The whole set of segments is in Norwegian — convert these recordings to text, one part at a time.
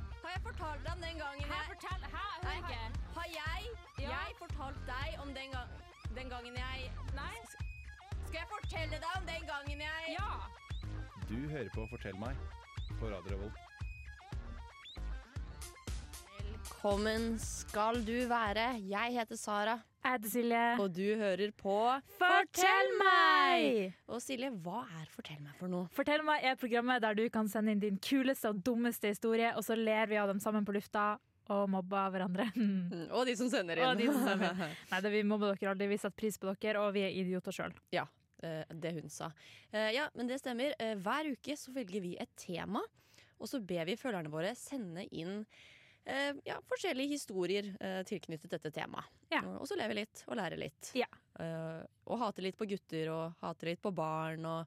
fortalte deg om den gangen Hæ, jeg fortell! Hæ, jeg Nei, hører har, ikke. har jeg, Ja. jeg fortalt deg om den, gang, den gangen jeg Nei? Skal jeg fortelle deg om den gangen jeg Ja! Du hører på Fortell meg på Radio Revolt. Velkommen skal du være. Jeg heter Sara, Jeg heter Silje. og du hører på Fortell meg! Og Silje, hva er Fortell meg for noe? Fortell meg er programmet der du kan sende inn din kuleste og dummeste historie, og så ler vi av dem sammen på lufta og mobber hverandre. Og de som sender inn. Og de som stemmer. Nei, det, vi mobber dere aldri. Vi setter pris på dere, og vi er idioter sjøl. Ja, eh, det hun sa. Eh, Ja, men det stemmer. Eh, Hver uke så velger vi et tema, og så ber vi følgerne våre sende inn eh, ja, forskjellige historier eh, tilknyttet dette temaet. Ja. Og- Og så lever litt, og lærer litt. Ja. Eh, Og hater litt på gutter, og hater litt på barn, og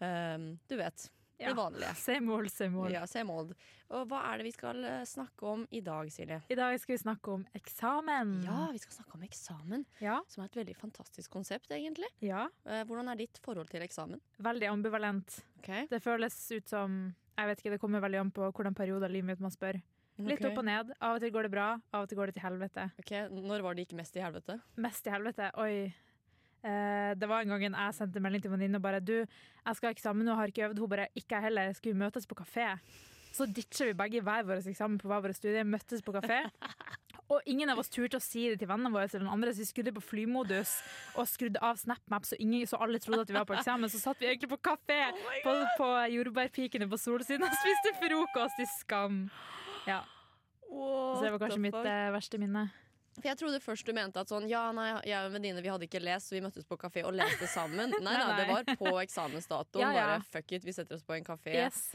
eh, du vet. Det Ja. vanlige. Se mål, se mål. Ja, se Mold. Og hva er det vi skal eh, snakke om i dag, Silje? I dag skal vi snakke om eksamen. Ja, vi skal snakke om eksamen, Ja. som er et veldig fantastisk konsept, egentlig. ja. Eh, Hvordan er ditt forhold til eksamen? Veldig ambivalent. Okay. Det føles ut som jeg vet ikke, Det kommer veldig an på hvordan periode av livet mitt man spør. Litt Ok. opp og ned. Av og til går det bra, av og til går det til helvete. Ok, Når var det gikk mest i helvete? Mest til helvete. Oi. Eh, det var en gang en jeg sendte melding til venninne og bare Du, jeg skal ha eksamen og har ikke øvd. Hun bare Ikke jeg heller. Skulle vi møtes på kafé? Så ditcher vi begge hver vår eksamen på hver vår studie, møttes på kafé. Og ingen av oss turte å si det til vennene våre eller noen andre, så vi skrudde på flymodus og skrudde av SnapMap, så, ingen, så alle trodde at vi var på eksamen. Så satt vi egentlig på kafé på, på jordbærpikene på Solsiden og spiste frokost i skam. Ja, Så det var kanskje mitt eh, verste minne. For Jeg trodde først du mente at sånn Ja, nei, jeg og en venninne vi hadde ikke lest, så vi møttes på kafé og leste sammen. Nei, nei, Nei, det nei. var på eksamensdatoen. Ja, ja. Bare fuck it, vi setter oss på en kafé. Yes.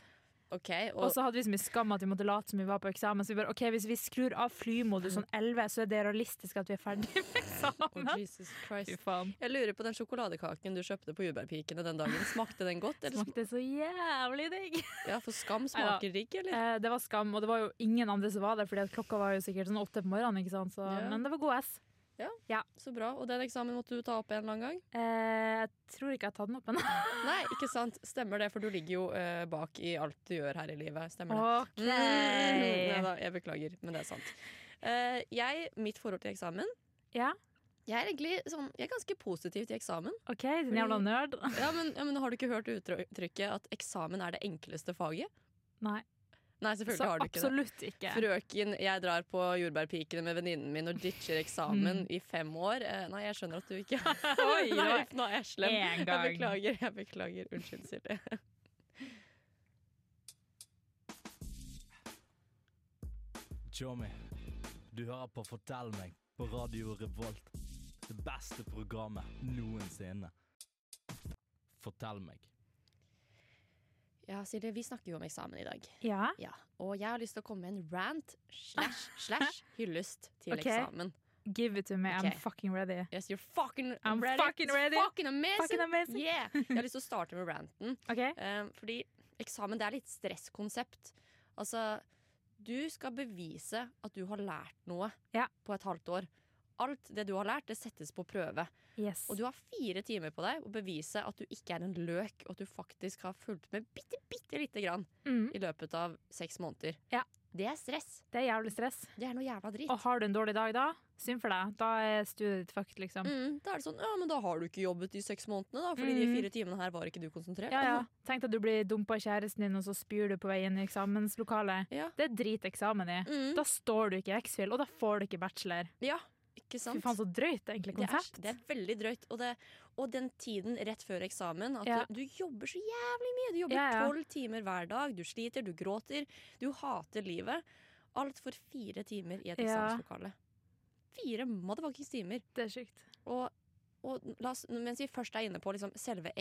Ok, Og og, så hadde vi så mye skam at vi måtte late som vi var på eksamen. Så vi bare, ok, Hvis vi skrur av flymodus sånn 11, så er det realistisk at vi er ferdig med oh, eksamen. Jesus Christ. Fy faen. Jeg lurer på den sjokoladekaken du kjøpte på Jordbærpikene den dagen. Smakte den godt? Eller sm Smakte så jævlig digg. ja, for skam smaker digg, eller? Eh, det var skam, og det var jo ingen andre som var der, Fordi at klokka var jo sikkert sånn åtte på morgenen. ikke sant? Så, Ja. Men det var god S. Så bra. Og den eksamen måtte du ta opp en eller annen gang? Eh, jeg tror ikke jeg har tatt den opp ennå. Nei, ikke sant. Stemmer det, for du ligger jo eh, bak i alt du gjør her i livet. Stemmer det? Ok. Nei da, jeg beklager, men det er sant. Eh, jeg, mitt forhold til eksamen Ja, Jeg er egentlig sånn, jeg er ganske positiv til eksamen. OK, din jævla nerd. Ja, men, ja, men Har du ikke hørt uttrykket at eksamen er det enkleste faget? Nei, Nei, selvfølgelig så har du ikke det. absolutt ikke. Frøken, jeg drar på jordbærpikene med venninnen min og ditcher eksamen i fem år. Eh, nei, jeg skjønner at du ikke Mm. Oi, Nei, nei. nå er jeg slem. En Jeg gang. beklager. jeg beklager. Unnskyld, Silje. Tjommi, du hører på Fortell meg på Radio Revolt. Det beste programmet noensinne. Fortell meg. Ja, Silje, vi snakker jo om eksamen i dag. Ja, Ja, Og jeg har lyst til å komme med en rant slash slash hyllest til Ok. eksamen. give it to me. Ok. I'm fucking ready. Yes, you're fucking I'm ready. fucking It's ready. Fucking amazing. Fucking amazing. Yeah. Jeg har lyst til å starte med ranten. OK? Um, fordi eksamen det er litt stresskonsept. Altså, du skal bevise at du har lært noe Ja. på et halvt år. Alt det du har lært, det settes på prøve. Yes. Og du har fire timer på deg å bevise at du ikke er en løk, og at du faktisk har fulgt med bitte, bitte lite grann Mm. i løpet av seks måneder. Ja. Det er stress. Det er jævlig stress. Det er noe jævla dritt. Og har du en dårlig dag da, synd for deg. Da er studiet ditt fucked, liksom. Mm, da er det sånn, ja, men da har du ikke jobbet de seks månedene, da, fordi de fire timene her var ikke du konsentrert. Mm. Ja, ja. Tenk deg at du blir dumpa av kjæresten din, og så spyr du på vei inn i eksamenslokalet. Ja. Det driter eksamen i. Mm. Da står du ikke i X-Fil, og da får du ikke bachelor. Ja, ikke sant? Fy faen, så drøyt det er egentlig Det er, konsept. det er veldig drøyt. Og, det, og den tiden rett før eksamen, at Ja. du, du jobber så jævlig mye. Du jobber Ja, ja. tolv timer hver dag. Du sliter, du gråter, du hater livet. Alt for fire timer i et Ja. eksamenslokale. Fire motherfuckings timer. Det er sykt. Og, og la oss, mens vi først er inne på liksom, selve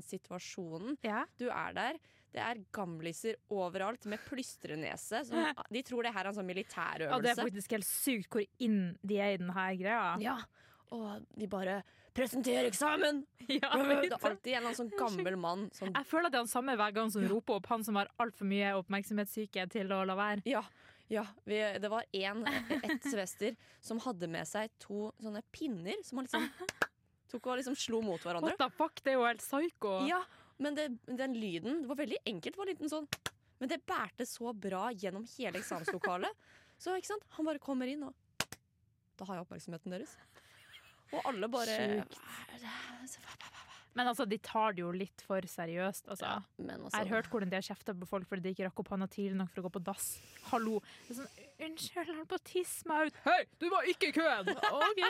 eksamenssituasjonen, Ja. du er der. Det er gamliser overalt med plystrenese. som- De tror det her er en sånn militærøvelse. Og det er faktisk helt sykt hvor inn de er i denne her greia. Ja, og de bare 'Presenter eksamen!' Ja, Det er liksom. alltid en eller annen sånn gammel mann som Jeg føler at det er han samme hver gang som roper opp han som har altfor mye oppmerksomhetssyke til å la være. Ja. ja vi, det var en, et semester som hadde med seg to sånne pinner som han liksom tok og liksom slo mot hverandre. What the fuck, det er jo helt psyko. Ja, Men det, den lyden Det var veldig enkelt. Det var en liten sånn Men det bærte så bra gjennom hele eksamenslokalet. Så ikke sant? han bare kommer inn, og da har jeg oppmerksomheten deres. Og alle bare Men altså, de tar det jo litt for seriøst, altså. Ja, men altså, Jeg har hørt hvordan de har kjefta på folk fordi de ikke rakk opp hånda tidlig nok for å gå på dass. Hallo. Det er sånn, Unnskyld, jeg holdt på å tisse meg ut. Hei, du var ikke i køen! OK.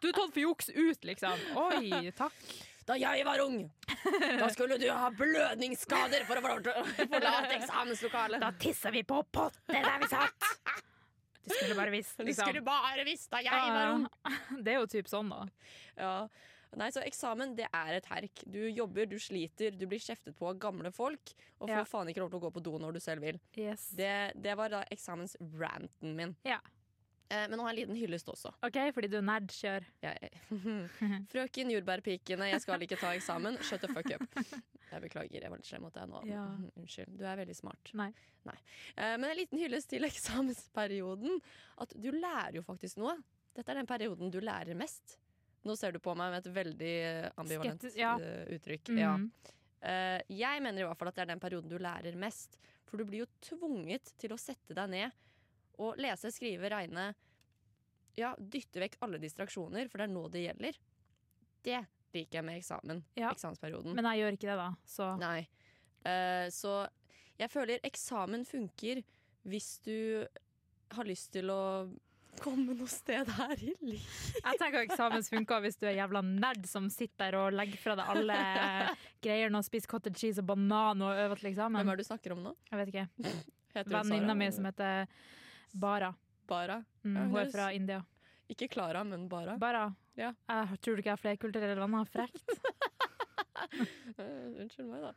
Du er tatt for juks ut, liksom. Oi, takk. Da jeg var ung, da skulle du ha blødningsskader for å forlate- forlate eksamenslokalet. Da tissa vi på potte der vi satt! Du Ah. skulle bare visst, Du liksom. skulle bare visst da jeg var ung. Ja, det er jo typ sånn, da. Ja. Nei, så eksamen det er et herk. Du jobber, du sliter, du blir kjeftet på av gamle folk. Og får Ja. faen ikke lov til å gå på do når du selv vil. Yes. Det, det var da eksamensranten min. Ja. Eh, men nå har jeg en liten hyllest også. OK, fordi du er nerd, kjør. Jeg, frøken jordbærpikene, jeg skal ikke ta eksamen. Shut the fuck up. Jeg beklager, jeg var litt slem mot deg nå. Ja. Mhm, Unnskyld. Du er veldig smart. Nei. Eh, men en liten hyllest til eksamensperioden. At du lærer jo faktisk noe. Dette er den perioden du lærer mest. Nå ser du på meg med et veldig eh, ambivalent Skeptisk, ja. eh, uttrykk. Mm. Ja. Eh, jeg mener i hvert fall at det er den perioden du lærer mest. For du blir jo tvunget til å sette deg ned og lese, skrive, regne. Ja, dytte vekk alle distraksjoner, for det er nå det gjelder. Det liker jeg med eksamen. Ja. Eksamensperioden. Men jeg gjør ikke det, da. Så Nei. Eh, så jeg føler eksamen funker hvis du har lyst til å komme noe sted her i livet. Jeg tenker eksamens funker hvis du er jævla nerd som sitter der og legger fra deg alle greiene og spiser cottage cheese og banan og øver Hvem til eksamen. er det du snakker om nå? Jeg vet ikke. Heter hun Sara? Venninna mi som heter Bara. Bara. Mm, Ja, hun er nice. fra India. Ikke Klara, men Bara. Bara. Ja. Jeg tror du ikke jeg har flerkulturelle venner? Frekt. Eh, Unnskyld meg, da.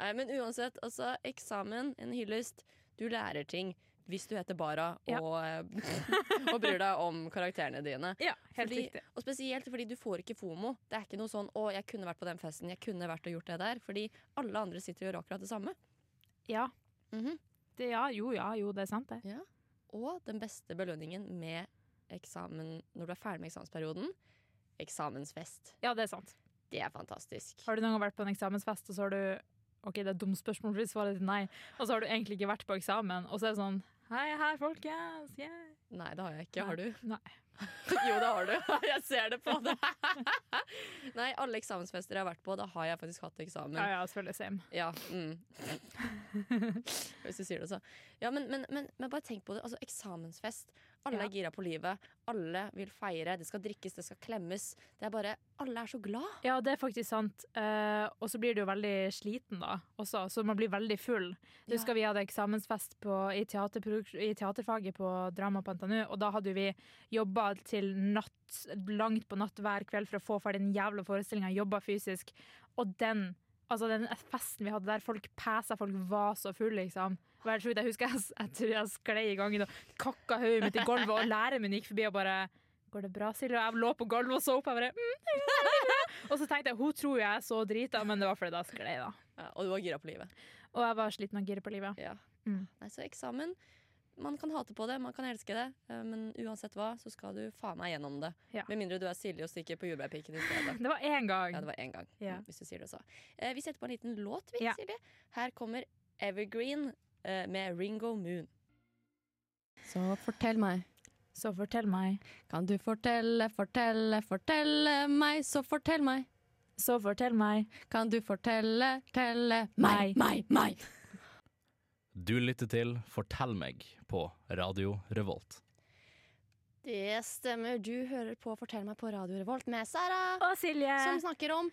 Nei, men uansett, altså, eksamen, en hyllest. Du lærer ting hvis du heter Bara Ja. og, eh, og bryr deg om karakterene dine. Ja, helt Fordi- riktig. Og spesielt fordi du får ikke fomo. Det er ikke noe sånn 'å, jeg kunne vært på den festen', 'jeg kunne vært og gjort det der'. Fordi alle andre sitter og gjør akkurat det samme. Ja. Mhm. Det, ja, jo, ja, jo, det er sant, det. Og den beste belønningen med eksamen når du er ferdig med eksamensperioden, eksamensfest. Ja, det er sant. Det er fantastisk. Har du noen gang vært på en eksamensfest, og så har du OK, det er et dumt spørsmål, for svaret ditt er nei. Og så har du egentlig ikke vært på eksamen, og så er det sånn Hei, hei, folkens. Yeah. Nei, det har jeg ikke. Har du? Nei. jo, det har du. Jeg ser det på det. Nei, alle eksamensfester jeg har vært på, da har jeg faktisk hatt eksamen. Ja, ja, selvfølgelig same. Ja, mm. Hvis du sier det, så. Ja, men, men, men, men bare tenk på det. Altså, eksamensfest. Alle Ja. er gira på livet. Alle vil feire. Det skal drikkes, det skal klemmes. Det er bare Alle er så glad. Ja, det er faktisk sant. Eh, og så blir du jo veldig sliten da også, så man blir veldig full. Jeg Ja. husker vi hadde eksamensfest på, i, teaterproduks- i teaterfaget på Drama på NTNU, og da hadde jo vi jobba til natt, langt på natt hver kveld for å få ferdig den jævla forestillinga, jobba fysisk. Og den altså den festen vi hadde der folk pæsa, folk var så fulle, liksom. Det var helt sjukt. Jeg husker jeg, s- jeg tror jeg sklei i gangen og kakka hodet mitt i gulvet, og læreren min gikk forbi og bare Går det bra, Silje? Og jeg lå på gulvet og så opp. Jeg bare og så tenkte jeg, hun tror jo jeg er så drita, men det var fordi da sklei, da. Ja, og du var gira på livet. Og jeg var sliten og gira på livet. Ja. Mm. Nei, så eksamen Man kan hate på det, man kan elske det, eh, men uansett hva, så skal du faen meg gjennom det. Ja. Med mindre du er Silje og stikker på jordbærpiken i stedet. Det var én gang. Ja, det var én gang, Ja. mm, hvis du sier det også. Eh, vi setter på en liten låt, vi, Ja. Silje. Her kommer Evergreen eh, med Ringo Moon. Så fortell meg, Så fortell meg, kan du fortelle, fortelle, fortelle meg, så fortell meg. så fortell meg. Kan du fortelle, telle meg, meg, meg? Du lytter til Fortell meg på Radio Revolt. Det stemmer, du hører på Fortell meg på Radio Revolt med Sara, Og Silje, som snakker om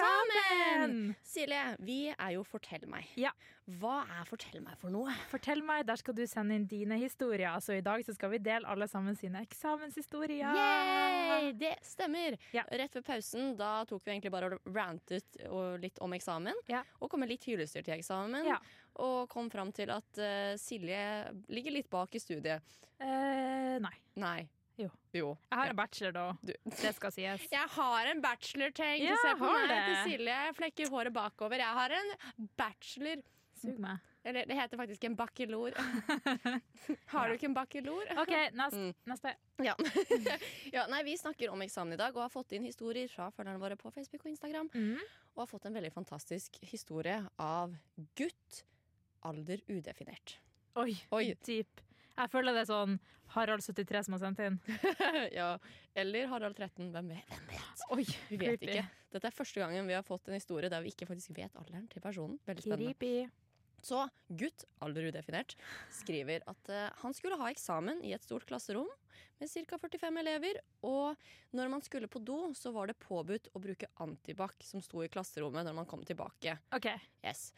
eksamen! Silje, vi er jo Fortell meg. Ja. Hva er Fortell meg for noe? Fortell meg, der skal du sende inn dine historier. Så i dag så skal vi dele alle sammen sine eksamenshistorier. Yay! Det stemmer. Ja. Rett før pausen da tok vi egentlig bare og rantet og litt om eksamen. Ja. Og kom med litt hyllester til eksamen. Ja. Og kom fram til at eh, Silje ligger litt bak i studiet. Eh, nei. Nei. Jo. Jo. Jeg har en bachelor, da. Du. Det skal sies. Jeg har en bachelor, tenk. Ja, Se på har meg det. til Silje. Jeg flekker håret bakover. Jeg har en bachelor. Sug meg. Eller det heter faktisk en bakkelor. har du ikke en bakkelor? OK, neste. Mm. neste. Ja. ja. Nei, vi snakker om eksamen i dag og har fått inn historier fra følgerne våre på Facebook og Instagram. Mm. og har fått en veldig fantastisk historie av gutt alder udefinert. Oi, Oi. deep. Jeg føler det er sånn Harald 73 som har sendt inn. ja. Eller Harald 13. Hvem vet? Hvem vet? Oi, Vi vet creepy. ikke. Dette er første gangen vi har fått en historie der vi ikke faktisk vet alderen til personen. Veldig spennende. Creepy. Så gutt, alder udefinert, skriver at eh, han skulle ha eksamen i et stort klasserom med ca. 45 elever, og når man skulle på do, så var det påbudt å bruke antibac som sto i klasserommet når man kom tilbake. OK. Yes.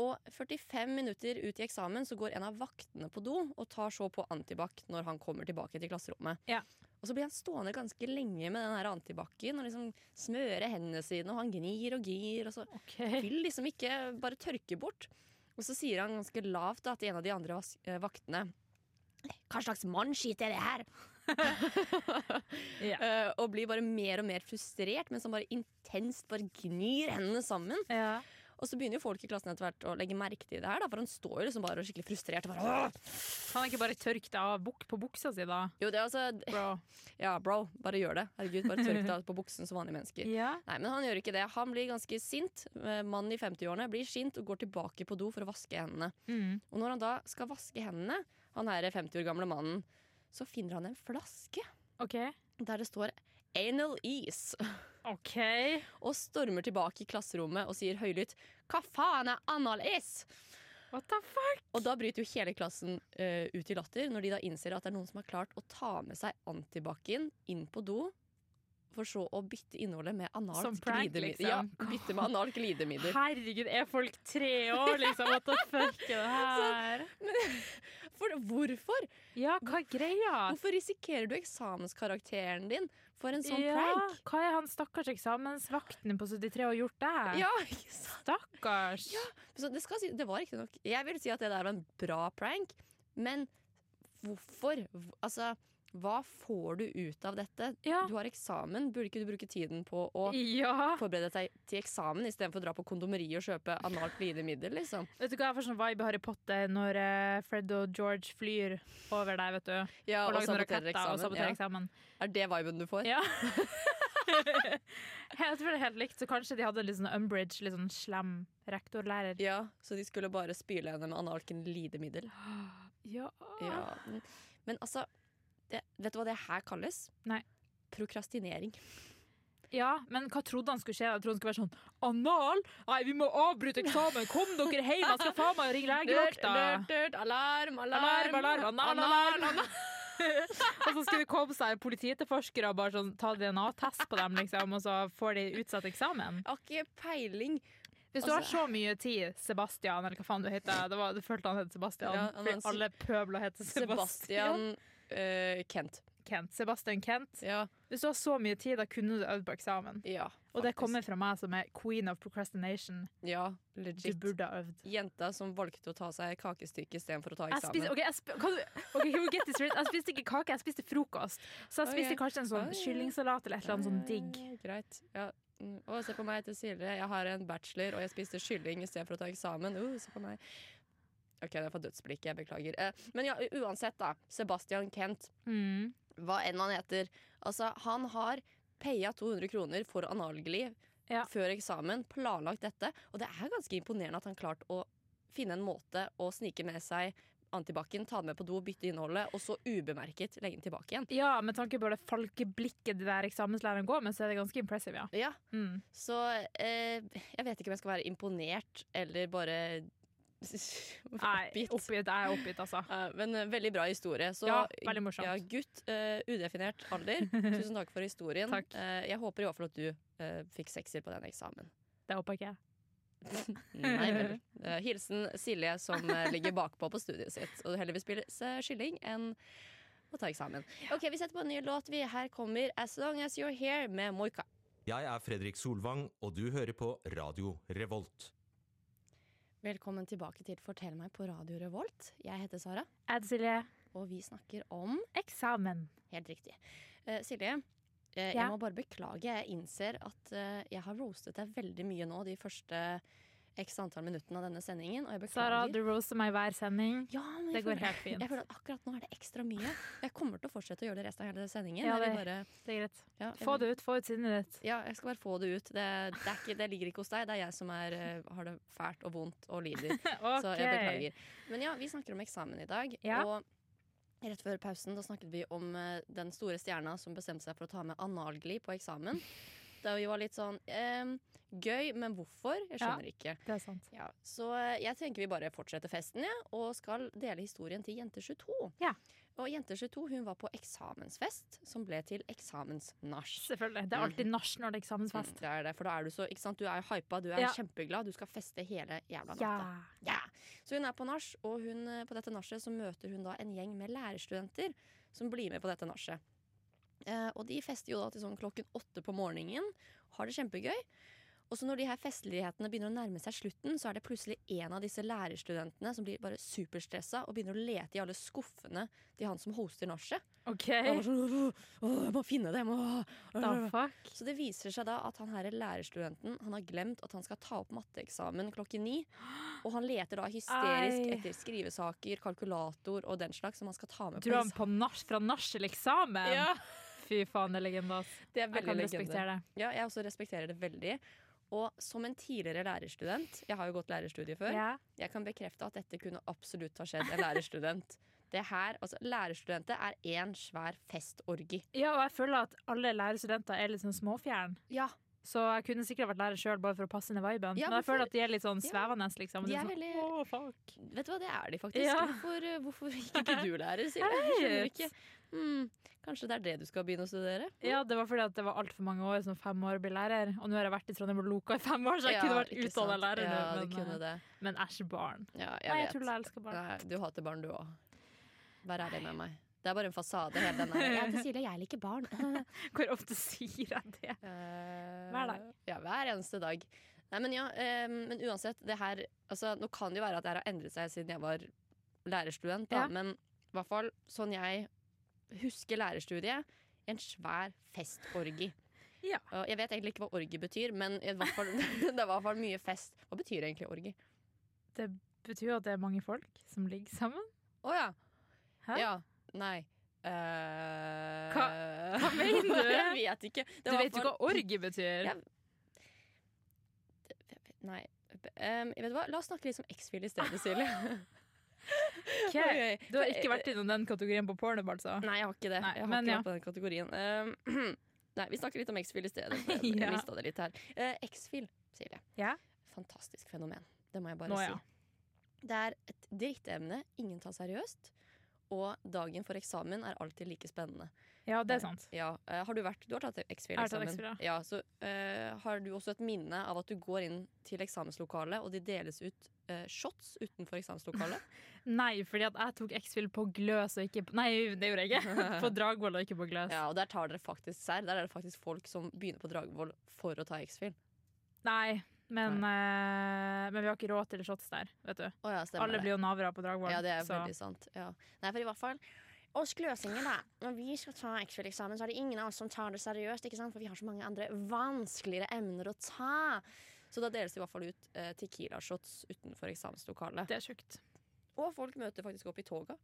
Og 45 minutter ut i eksamen så går en av vaktene på do og tar så på antibac når han kommer tilbake til klasserommet. Ja. Og så blir han stående ganske lenge med den her antibacen og liksom smøre hendene sine, og han gnir og gir, og så ok. vil liksom ikke bare tørke bort. Og så sier han ganske lavt da, til en av de andre vas- eh, vaktene Hva slags mannskit er det her? Ja. Eh, og blir bare mer og mer frustrert mens han bare intenst bare gnir hendene sammen. Ja. Og så begynner jo folk i klassen etter hvert å legge merke til det her, da, for han står jo liksom bare og er skikkelig frustrert. og Bare, «Åh!» Kan jeg ikke bare tørke det av buk på buksa si, da? jo, det er altså, Bro. ja, bro, bare gjør det. Herregud, bare tørk deg ut på buksen som vanlige mennesker. Ja. Nei, men han gjør ikke det. Han blir ganske sint. Eh, Mannen i 50-årene blir sint og går tilbake på do for å vaske hendene. Mm. Og når han da skal vaske hendene, han her 50 år gamle mannen, så finner han en flaske OK. der det står anal ease, OK. og stormer tilbake i klasserommet og sier høylytt 'hva faen er anal ease?' What the fuck? Og da bryter jo hele klassen eh, ut i latter når de da innser at det er noen som har klart å ta med seg antibac-en inn på do. For så å bytte innholdet med analt Som prank, glidemiddel. liksom. Ja, bytte med analt glidemiddel. Herregud, er folk tre år, liksom? What the fuck er det her? For hvorfor? Ja, hva er greia? Hvorfor risikerer du eksamenskarakteren din for en sånn ja, prank? Hva er han stakkars eksamensvakten på 73 og gjort der? Ja, ikke sant? Stakkars. Så det, skal si, det var ikke nok Jeg vil si at det der var en bra prank, men hvorfor? Hv- Altså, hva får du ut av dette? Ja. Du har eksamen, burde ikke du bruke tiden på å Ja. forberede deg til eksamen istedenfor å dra på kondomeriet og kjøpe analt glidemiddel, liksom? Vet du hva jeg får sånn vibe i Harry Potter når eh, Fred og George flyr over deg, vet du. Ja, Og lager sånne sabotere raketter og saboterer Ja. eksamen. Er det viben du får? Ja. jeg tror det er helt likt, så kanskje de hadde litt sånn Umbridge, litt sånn slem rektorlærer. Ja, Så de skulle bare spyle henne med analt glidemiddel? Ja. Ja. men- Men altså, det, vet du hva det her kalles? Nei. Prokrastinering. Ja, men hva trodde han skulle skje? Jeg trodde han skulle være sånn Anal? Nei, vi må avbryte eksamen! Kom dere hjem! Jeg skal faen meg ringe legevakta! alarm, Alarm, alarm, alarm, alarm, Og så skulle det komme seg politietterforskere og bare sånn, ta DNA-test på dem, liksom, og så får de utsatt eksamen. Har ikke peiling. Hvis du har så mye tid, Sebastian, eller hva faen du heter, det var, du følte han het Sebastian, Ja, han var en fordi si- alle pøbler heter Sebastian. Sebastian eh, Kent. Kent. Sebastian Kent. Ja. Hvis du har så mye tid, da kunne du øvd på eksamen. ja Og det faktisk. kommer fra meg som er queen of procrastination. Ja, Du legit. burde ha øvd. Jenta som valgte å ta seg kakestykke istedenfor å ta Jeg spiste, eksamen. ok, jeg, sp kan du, ok, can we get this right? jeg spiste ikke kake, jeg spiste frokost. Så jeg spiste Ok. kanskje en sånn Ah, ja. kyllingsalat eller et eller annet sånn digg. Eh, Greit. Ja. Mm. Å, se på meg, jeg heter Silje. Jeg har en bachelor, og jeg spiste kylling istedenfor å ta eksamen. Uh, se på meg. OK, det er for dødsblikket. Jeg beklager. Eh, men ja, u- uansett, da. Sebastian Kent, Mm. hva enn han heter. Altså, han har paya 200 kroner for analgliv Ja. før eksamen, planlagt dette, og det er ganske imponerende at han klarte å finne en måte å snike med seg antibac-en, ta den med på do, bytte innholdet, og så ubemerket legge den tilbake igjen. Ja, med tanke på det falkeblikket de der eksamenslærerne går med, så er det ganske impressive, ja. Ja, Mm. Så eh, jeg vet ikke om jeg skal være imponert eller bare Nei, oppgitt. oppgitt. Jeg er oppgitt, altså. Eh, men eh, veldig bra historie. Så, Ja, veldig morsomt. Ja, gutt, eh, udefinert alder. Tusen takk for historien. Takk. Eh, jeg håper i hvert fall at du eh, fikk sekser på den eksamen. Det håper ikke jeg. Nei vel. Eh, hilsen Silje som eh, ligger bakpå på studiet sitt og heller vil spille eh, skilling enn å ta eksamen. Ok, Vi setter på en ny låt. Vi her kommer 'As Long As You're Here' med Moika. Jeg er Fredrik Solvang, og du hører på Radio Revolt. Velkommen tilbake til Fortell meg på Radio Revolt. Jeg heter Sara. Ed Silje, Og vi snakker om eksamen. Helt riktig. Eh, Silje, eh, Ja. jeg må bare beklage. Jeg innser at eh, jeg har roastet deg veldig mye nå de første x antall minuttene av denne sendingen, og jeg Sara, beklager. du roser meg hver sending. ja, men jeg Det går føler- helt fint. Jeg føler at akkurat nå er det ekstra mye. Jeg kommer til å fortsette å gjøre det resten av hele sendingen. Ja, jeg vil det- bare, Det er greit. ja, jeg Få vil- det ut, få ut sinnet ditt. Ja, jeg skal bare få det ut. Det, det, er ikke, det ligger ikke hos deg. Det er jeg som er, eh, har det fælt og vondt og lider. Så jeg OK. beklager. Men ja, vi snakker om eksamen i dag. Ja. Og rett før pausen da snakket vi om eh, den store stjerna som bestemte seg for å ta med analgli på eksamen. Da vi var litt sånn ehm, Gøy, men hvorfor? Jeg Ja. skjønner ikke. Det er sant. Ja, så eh, jeg tenker vi bare fortsetter festen, ja, og skal dele historien til Jente22. Ja. Og Jente22 hun var på eksamensfest, som ble til eksamensnasj. Selvfølgelig. Det er alltid nach når det er eksamensfest. Mm, Det er det, for da er du så, ikke sant? Du er hypa, du er Ja. kjempeglad, du skal feste hele jævla natta. Ja. Ja. Så hun er på nach, og hun, eh, på dette nachet så møter hun da en gjeng med lærerstudenter som blir med på dette nachet. Eh, og de fester jo da til sånn klokken åtte på morgenen, har det kjempegøy. Og så når de her festlighetene begynner å nærme seg slutten, så er det plutselig en av disse lærerstudentene som blir bare superstressa og begynner å lete i alle skuffene til han som hoster nachet. OK. Og han er sånn, «Åh, åh, Jeg må finne dem! Åh, Da åh, åh». fuck. Så det viser seg da at han her lærerstudenten Han har glemt at han skal ta opp matteeksamen klokken ni. Og han leter da hysterisk Ei. etter skrivesaker, kalkulator og den slags som han skal ta med Dro på han på nach fra nach til eksamen? Ja. Fy faen, det er legende. ass. Det er Jeg kan respektere det. Ja, jeg også respekterer det veldig. Og som en tidligere lærerstudent, jeg har jo gått lærerstudiet før, Ja. jeg kan bekrefte at dette kunne absolutt ha skjedd en lærerstudent. Det her, altså Lærerstudenter er én svær festorgi. ja, og jeg føler at alle lærerstudenter er litt sånn småfjern. Ja, Så jeg kunne sikkert vært lærer sjøl, bare for å passe inn i viben. Ja, men jeg hvorfor- føler at de er litt sånn Ja. svevende, liksom. De Litt er sånn, veldig- «Åh, fuck. Vet du hva, det er de faktisk. Ja. Hvorfor, eh, hvorfor gikk ikke du lærer, Silje? Jeg skjønner ikke. Hmm, kanskje det er det du skal begynne å studere? Ja, det var fordi at det var altfor mange år som fem år å bli lærer. Og nå har jeg vært i Trondheim og Loka i fem år, så jeg kunne vært ikke utdanna sant. lærer. Ja, nå, du men, eh, kunne det. men æsj, barn. Ja, jeg Nei, vet. jeg tuller, jeg elsker barn. Nei, du hater barn, du òg. Vær ærlig med meg. Det er bare en fasade, hele den der. Jeg heter Silje, jeg liker barn. Hvor ofte sier jeg det? hver dag. Eh, Ja, hver eneste dag. Nei, men ja, eh, men uansett, det her altså, Nå kan det jo være at det her har endret seg siden jeg var lærerstudent, da, Ja. men i hvert fall sånn jeg husker lærerstudiet, en svær festorgi. Ja. Og jeg vet egentlig ikke hva orgi betyr, men i hvert fall, det var i hvert fall mye fest. Hva betyr egentlig orgi? Det betyr jo at det er mange folk som ligger sammen. Å ja. Hæ? Ja. Nei. Eh, Hva- hva mener du? jeg vet ikke. Det Du var i vet hvert jo fall- hva orgi betyr? Ja. Nei. Um, vet du hva? La oss snakke litt om X-Fil i stedet, Silje. Ok. Ok. Du har ikke vært innom den kategorien på pornhub, altså? Nei, jeg har ikke det. Nei, jeg har men ikke ja. vært på den kategorien. Um, nei, vi snakker litt om X-Fil i stedet. for Jeg Ja. ja. mista det litt her. Eh, X-Fil, Silje. Ja. Fantastisk fenomen. Det må jeg bare Nå, ja. si. Det er et drittemne ingen tar seriøst, og dagen for eksamen er alltid like spennende. Ja, det er sant. Ja, eh, har Du vært, du har tatt Jeg har tatt X-Fil-eksamen. X-Fil, Ja, så eh, har du også et minne av at du går inn til eksamenslokalet, og de deles ut eh, shots utenfor eksamenslokalet? Nei, fordi at jeg tok X-Fill på Gløs og ikke på Nei, det gjorde jeg ikke. På Dragvoll og ikke på Gløs. ja, og Der tar dere faktisk serr. Der er det faktisk folk som begynner på Dragvoll for å ta X-Fil. Nei, men, eh, men vi har ikke råd til shots der, vet du. Å ja, stemmer Alle det. blir jo navra på Dragvoll. Ja, det er så- veldig sant. Ja. Nei, for i hvert fall oss gløsinger, da. Når vi skal ta X-Fil-eksamen, så er det ingen av oss som tar det seriøst, ikke sant? for vi har så mange andre vanskeligere emner å ta. Så da deles det i hvert fall ut eh, Tequila-shots utenfor eksamenslokalet. det er sjukt. Og folk møter faktisk opp i toga.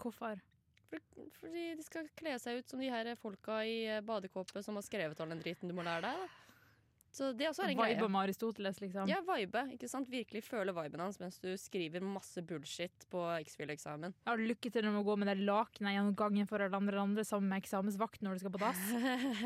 Hvorfor? For- Fordi de skal kle seg ut som de her folka i eh, badekåpe som har skrevet all den driten du må lære deg. Da. Så det også er en Vibe greie. om Aristoteles, liksom. Ja, vibe. ikke sant? Virkelig føle viben hans mens du skriver masse bullshit på X-Fil-eksamen. Ja, lykke til med å gå med det lakenet gjennom gangen for alle andre, andre sammen med eksamensvakt når du skal på dass.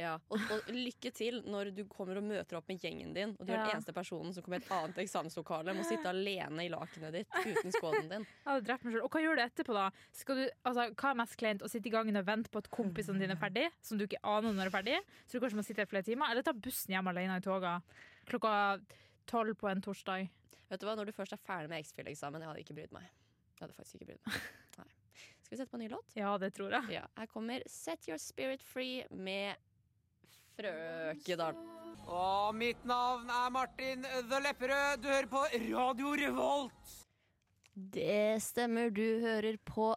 ja, og, og lykke til når du kommer og møter opp med gjengen din, og du er Ja. den eneste personen som kommer i et annet eksamenslokale, må sitte alene i lakenet ditt uten skåden din. Jeg hadde drept meg selv. Og hva gjør du etterpå, da? Skal du, altså, hva er mest kleint? Å sitte i gangen og vente på at kompisene dine er ferdig, som du ikke aner når er ferdig, så du kanskje må sitte her flere timer, eller ta bussen hjem alene i toga klokka tolv på en torsdag? Vet du hva, Når du først er ferdig med X-Fil-eksamen, jeg hadde ikke brydd meg. Jeg hadde faktisk ikke brydd meg. Nei. Skal vi sette på en ny låt? Ja, det tror jeg. Ja, Her kommer Set Your Spirit Free med Frøkedal. Og mitt navn er Martin The Lepperød. Du hører på Radio Revolt. Det stemmer, du hører på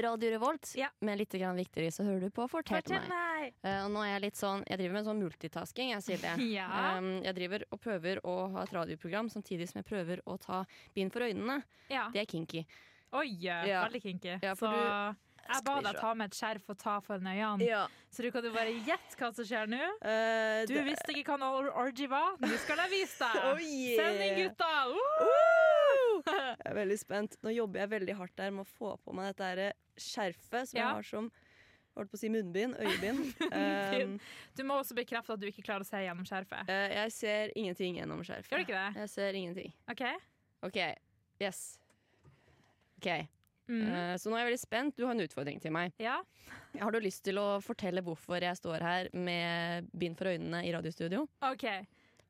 Radio Revolt, Ja. men litt grann viktigere så hører du på Fortell, meg. meg! Nei! Eh, og nå er jeg litt sånn Jeg driver med sånn multitasking, jeg sier det. Ja. Em, jeg driver og prøver å ha et radioprogram samtidig som jeg prøver å ta bind for øynene. Ja. Det er kinky. Oi, Ja. veldig kinky. Ja, for så jeg ba Skal vi deg se. ta med et skjerf og ta foran øynene, så du kan jo bare gjette hva som skjer nå. Eh, Du visste ikke hva en orgy var, nå skal jeg vise deg! Send inn gutta! Uh! Jeg er veldig spent. Nå jobber jeg veldig hardt der med å få på meg dette her skjerfet som Ja. jeg har som holdt på å si munnbind, øyebind. Um, Du må også bekrefte at du ikke klarer å se gjennom skjerfet. eh, jeg ser ingenting gjennom skjerfet. Gjør du ikke det? Jeg ser ingenting. OK? OK. Yes. OK. Mm. Eh, så nå er jeg veldig spent. Du har en utfordring til meg. Ja. Har du lyst til å fortelle hvorfor jeg står her med bind for øynene i radiostudio? OK.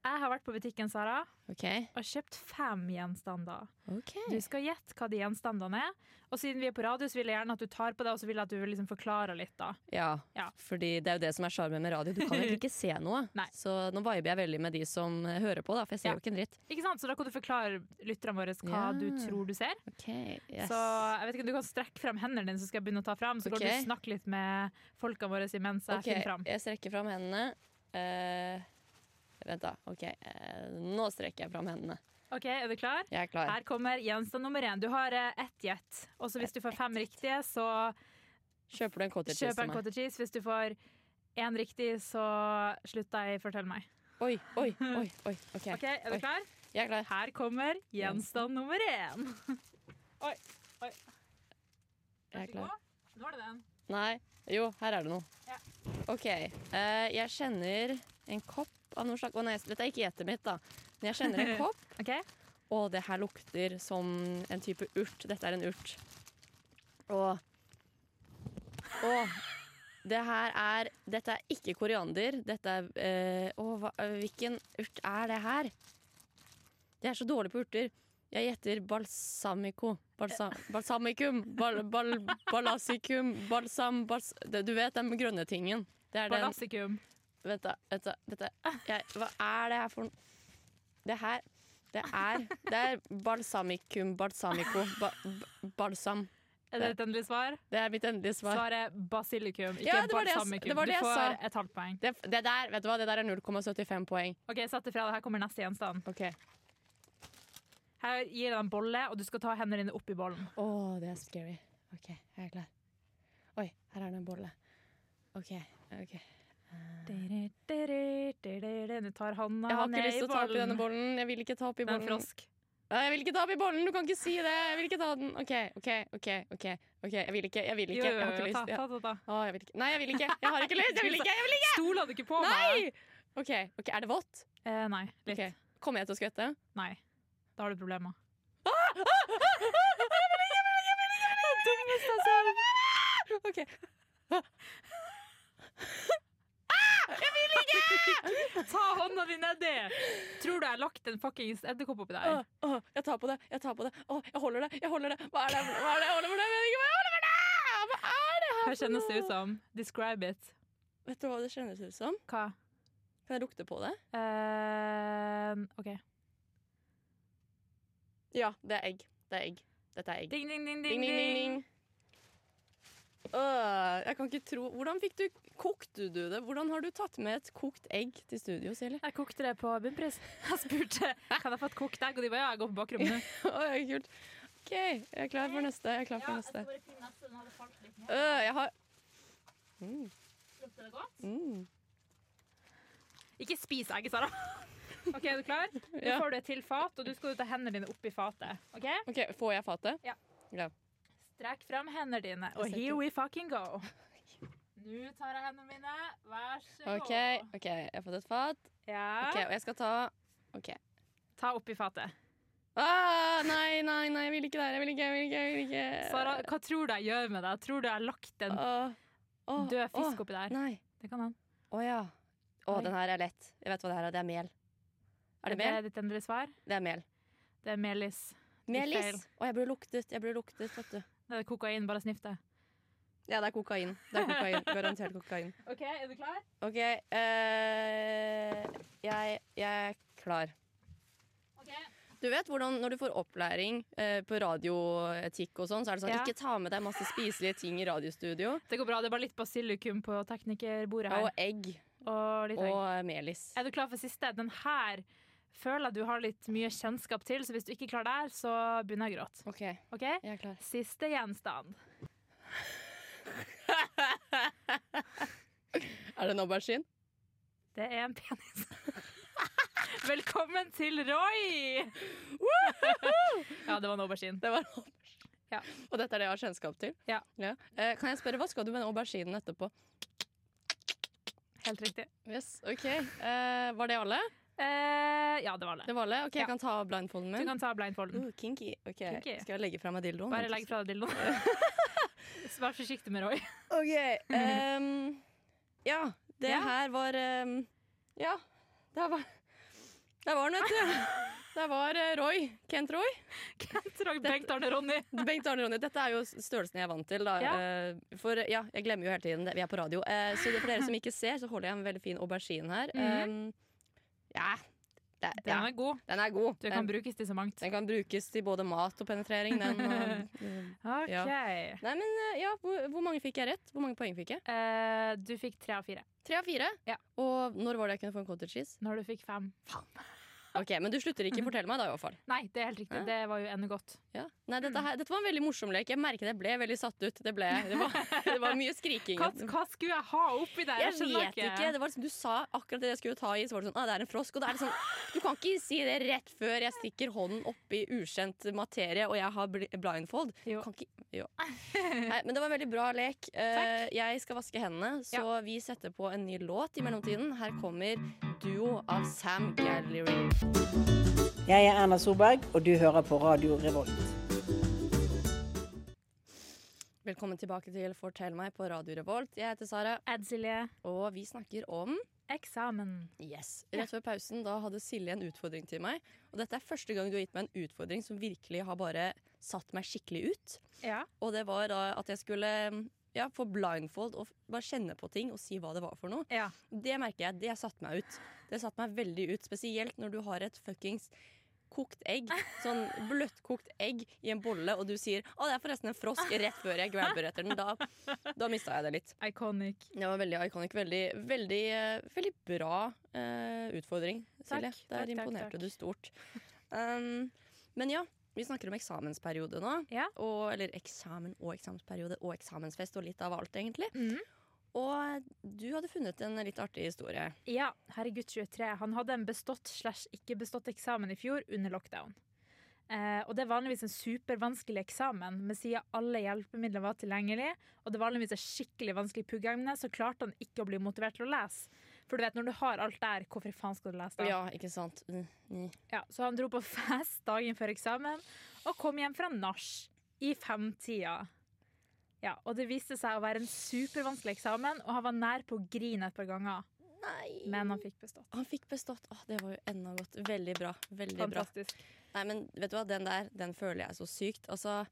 Jeg har vært på butikken Sara, OK. og kjøpt fem gjenstander. Ok. Du skal gjette hva de gjenstandene er. Og siden vi er på radio, så vil jeg gjerne at du tar på det, og så vil jeg at du liksom forklarer litt, da. Ja, Ja. fordi det er jo det som er sjarmen med radio. Du kan egentlig ikke se noe. Nei. Så nå viber jeg veldig med de som eh, hører på, da, for jeg ser Ja. jo ikke en dritt. Ikke sant? Så da kan du forklare lytterne våre hva Ja. du tror du ser. Ok, yes. Så jeg vet ikke, Du kan strekke fram hendene dine, så skal jeg begynne å ta fram. Så Ok. kan du snakke litt med folka våre imens jeg Ok, finner fram. jeg strekker fram hendene. Eh, vent, da. Ok, eh, nå strekker jeg fram hendene. Ok, Er du klar? Jeg er klar. Her kommer gjenstand nummer én. Du har eh, ett gjett. Og så hvis du får fem riktige, så Kjøper du en cottage cheese kjøper jeg til en meg? cottage cheese. Hvis du får én riktig, så slutter jeg i Fortell meg. Oi, oi, oi. oi. Ok, Ok, Er du Oi. klar? jeg er klar. Her kommer gjenstand nummer én. Oi, oi. Jeg er klar. Nå er det den. Nei, jo, her er det noe. Ja. Ok, eh, jeg kjenner en kopp av noe slags Å nei, dette er ikke gjetet mitt, da. Men jeg kjenner en kopp. Ok, Å, det her lukter som en type urt. Dette er en urt. Og Å, det her er Dette er ikke koriander. Dette er eh, Å, hva, hvilken urt er det her? Jeg er så dårlig på urter. Jeg gjetter balsamico. Balsa, balsamicum. Bal, bal, balasicum. Balsam bals, det, Du vet den grønne tingen. Det er den Balassikum. Vent, da. Vent da vent da. Jeg, hva er det her for noe? Det her Det er, det er balsamicum balsamico. Ba, ba, balsam. Er det et endelig svar? Det er mitt endelige svar. Svaret er basilikum, ikke Ja, det var det jeg- balsamikum. det var det jeg du får sa. et halvt poeng. Det, det der vet du hva, det der er 0,75 poeng. Ok, Sett det fra deg. Her kommer neste gjenstand. Ok. Her gir jeg deg en bolle, og du skal ta hendene dine oppi bollen. Å, det er scary. OK, jeg er klar. Oi, her er det en bolle. OK. ok Du tar hånda Jeg har ikke ned lyst i til å ta opp i denne bollen. Jeg vil ikke ta opp i Det er en bollen. frosk. Nei, Jeg vil ikke ta opp i bollen, du kan ikke si det! Jeg vil ikke ta den. OK, OK, OK. ok, ok Jeg vil ikke, jeg vil Jo, ikke. Jeg jo, har ikke jo, ta, lyst. Ja. ta, ta, ta. Å, jeg vil ikke. Nei, jeg vil ikke. Jeg har ikke lyst. Jeg vil ikke! Jeg vil ikke! Stoler du ikke på meg? Nei! OK, ok, er det vått? Eh, nei. Litt. Ok, Kommer jeg til å skvette? Nei. Da har du problemer. OK. Ta hånda di nedi! Tror du jeg har lagt en fuckings edderkopp oppi Å, der? å, jeg tar på det, jeg tar på det. Å, jeg holder det, jeg holder det. Hva er det? Hva er det? Jeg holder for det. Jeg vet ikke hva jeg holder for det! Hva er det her? Hva for kjennes det ut noe? som? Describe it. Vet du hva det kjennes ut som? Hva? Kan jeg lukte på det? Eh, OK. Ja, det er egg. Det er egg. Dette er egg. Ding, ding, ding, Ding, ding, ding, ding. Øh, jeg kan ikke tro Hvordan fikk du Kokte du det? Hvordan har du tatt med et kokt egg til studio, Silje? Jeg kokte det på bunnpris. Jeg spurte kan jeg få et kokt egg, og de bare ja, jeg går på bakrommet nå. Oi, kult. OK, jeg er klar for neste. Jeg er klar for neste. Øh, jeg har mm, mm. Ikke spis egget, Sara. OK, er du klar? Nå Ja. får du et til fat, og du skal ta hendene dine oppi fatet. OK? OK, får jeg fatet? Ja. Ja. Strekk fram hendene dine, og Jeg here strekker. we fucking go. Nå tar jeg hendene mine. Vær så OK, ok, jeg har fått et fat. Ja. Ok, Og jeg skal ta OK. Ta oppi fatet. Ah, nei, nei, nei, jeg vil ikke der. Jeg vil ikke, jeg vil ikke. jeg vil ikke. Sara, hva tror du jeg gjør med deg? Tror du jeg har lagt en Åh, åh, død fisk åh, oppi der? Nei. Det kan han. Å ja. Å, Oi. den her er lett. Jeg vet hva det her er. Det er mel. Er det mel? ditt endelige svar? Det er mel. Det er melis. feil. Melis! Å, jeg burde luktet. Jeg burde luktet, vet du. Det er kokain, bare sniff det. Ja, det er kokain. Det er kokain. Garantert kokain. OK, er du klar? OK. eh, jeg, jeg er klar. Ok. Du vet hvordan når du får opplæring eh, på radioetikk og sånn, så er det sånn Ja. ikke ta med deg masse spiselige ting i radiostudio. Det går bra. Det er bare litt basilikum på teknikerbordet her. Og egg Og litt og egg. eh, melis. Er du klar for siste? Den her føler jeg du har litt mye kjennskap til, så hvis du ikke klarer det her, så begynner jeg å gråte. OK, jeg OK? er klar. Siste gjenstand. Er det en aubergine? Det er en penis. Velkommen til Roy! ja, det var en aubergine. Det var en aubergine. Ja. Og dette er det jeg har kjennskap til? Ja. Eh, kan jeg spørre, hva skal du med den auberginen etterpå? Helt riktig. Yes, ok. Eh, var det alle? Eh, ja, det var det. Det var alle? Ok, Ja. jeg kan ta blindfolden Du min. kan ta blindfolden. Uh, kinky. Ok, Kinky. Skal jeg legge fra meg dildoen? Bare legg fra deg dildoen. Så Vær forsiktig med Roy. Ok. ehm, ja, det Ja. her var ehm, Ja, der var Der var han, vet du. Der var eh, Roy. Kent Roy. Kent Roy, Bengt Arne Ronny. Bengt Arne Ronny. Dette er jo størrelsen jeg er vant til. Da. Ja. Eh, For ja, jeg glemmer jo hele tiden det. Vi er på radio. Eh, Så det- for dere som ikke ser, så holder jeg en veldig fin aubergine her. Mhm. Ehm, ja, det, Den ja. er god. Den er god. Du kan Den, brukes til så mangt. den kan brukes til både mat og penetrering. eh, Den, og, OK. nei, men eh, ja, hvor, hvor mange fikk jeg rett? Hvor mange poeng fikk jeg? Eh, du fikk tre av fire. Tre av fire. Ja. Og når var det jeg kunne få en cottage cheese? Når du fikk fem. Ok, Men du slutter ikke å fortelle meg, da, i hvert fall. Nei, det er helt riktig. Hæ? Det var jo ennå godt. Ja. Nei, dette, her, dette var en veldig morsom lek. Jeg merket jeg ble veldig satt ut. Det, ble, det, var, det var mye skriking. Hva, hva skulle jeg ha oppi der? Jeg skjønner vet ikke. Det var liksom, du sa akkurat det jeg skulle ta i, så var det sånn ah, det er en frosk. Og da er det sånn, du kan ikke si det rett før jeg stikker hånden oppi ukjent materie og jeg har bl- blindfold. Du Jo. Kan ikke, jo. Nei, men det var en veldig bra lek. Eh, jeg skal vaske hendene, så vi setter på en ny låt i mellomtiden. Her kommer duo av Sam Gallery. Jeg er Erna Solberg, og du hører på Radio Revolt. Velkommen tilbake til Fortell meg på Radio Revolt. Jeg heter Sara, Edsilje. og vi snakker om Eksamen. Yes. Rett før pausen da hadde Silje en utfordring til meg. Og dette er første gang du har gitt meg en utfordring som virkelig har bare satt meg skikkelig ut. Ja. Og det var da at jeg skulle ja, få blindfold og f- bare kjenne på ting og si hva det var for noe. Ja. Det merker jeg. Det satte meg ut. Det satte meg veldig ut. Spesielt når du har et fuckings kokt egg. Sånn bløttkokt egg i en bolle, og du sier 'Å, det er forresten en frosk' rett før jeg grabber etter den. Da, da mista jeg det litt. Iconic. Det var veldig iconic. Veldig, veldig, eh, veldig bra eh, utfordring, Takk, Silje. takk, Der takk, imponerte takk. du stort. Um, men ja, vi snakker om eksamensperiode nå. Ja. Og, eller eksamen og eksamensperiode og eksamensfest og litt av alt, egentlig. Mhm. Og eh, du hadde funnet en litt artig historie. Ja, herregutt 23. Han hadde en bestått slash ikke bestått eksamen i fjor under lockdown. Eh, og det er vanligvis en supervanskelig eksamen, men siden alle hjelpemidler var tilgjengelig, og det vanligvis er skikkelig vanskelig puggeemne, så klarte han ikke å bli motivert til å lese. For du vet, når du har alt der, hvorfor faen skal du lese da? Ja, ikke sant? Mm, mm. Ja, så han dro på fest dagen før eksamen og kom hjem fra nach i femtida. Ja, og det viste seg å være en supervanskelig eksamen, og han var nær på å grine et par ganger, Nei. men han fikk bestått. Han fikk bestått. Åh, det var jo enda godt. Veldig bra. Veldig bra. Fantastisk. Nei, men vet du hva, den der, den føler jeg så sykt. Altså,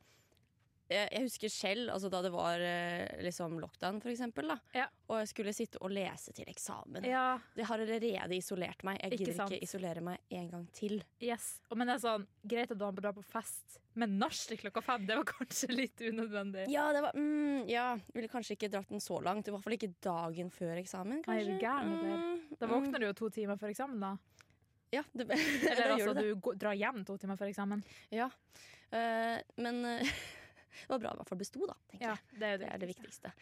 jeg, jeg husker selv, altså da det var eh, liksom lockdown for eksempel, da, Ja. og jeg skulle sitte og lese til eksamen. Ja, Det har allerede isolert meg. Jeg Ikke gidder sant. ikke isolere meg en gang til. yes. Og, men det er sånn, greit at du har drar på fest, men nach til klokka fem, det var kanskje litt unødvendig. Ja, det var, mm, ja, jeg ville kanskje ikke dratt den så langt. I hvert fall ikke dagen før eksamen, Nei, kanskje. er du gæren, eller? Mm, Da mm. våkner du jo to timer før eksamen, da. Ja, det, det Eller gjør altså, du det. du går- drar hjem to timer før eksamen. Ja. Eh, men eh, det var bra i hvert fall besto, da, tenker jeg. Ja, det er jo Det er det viktigste.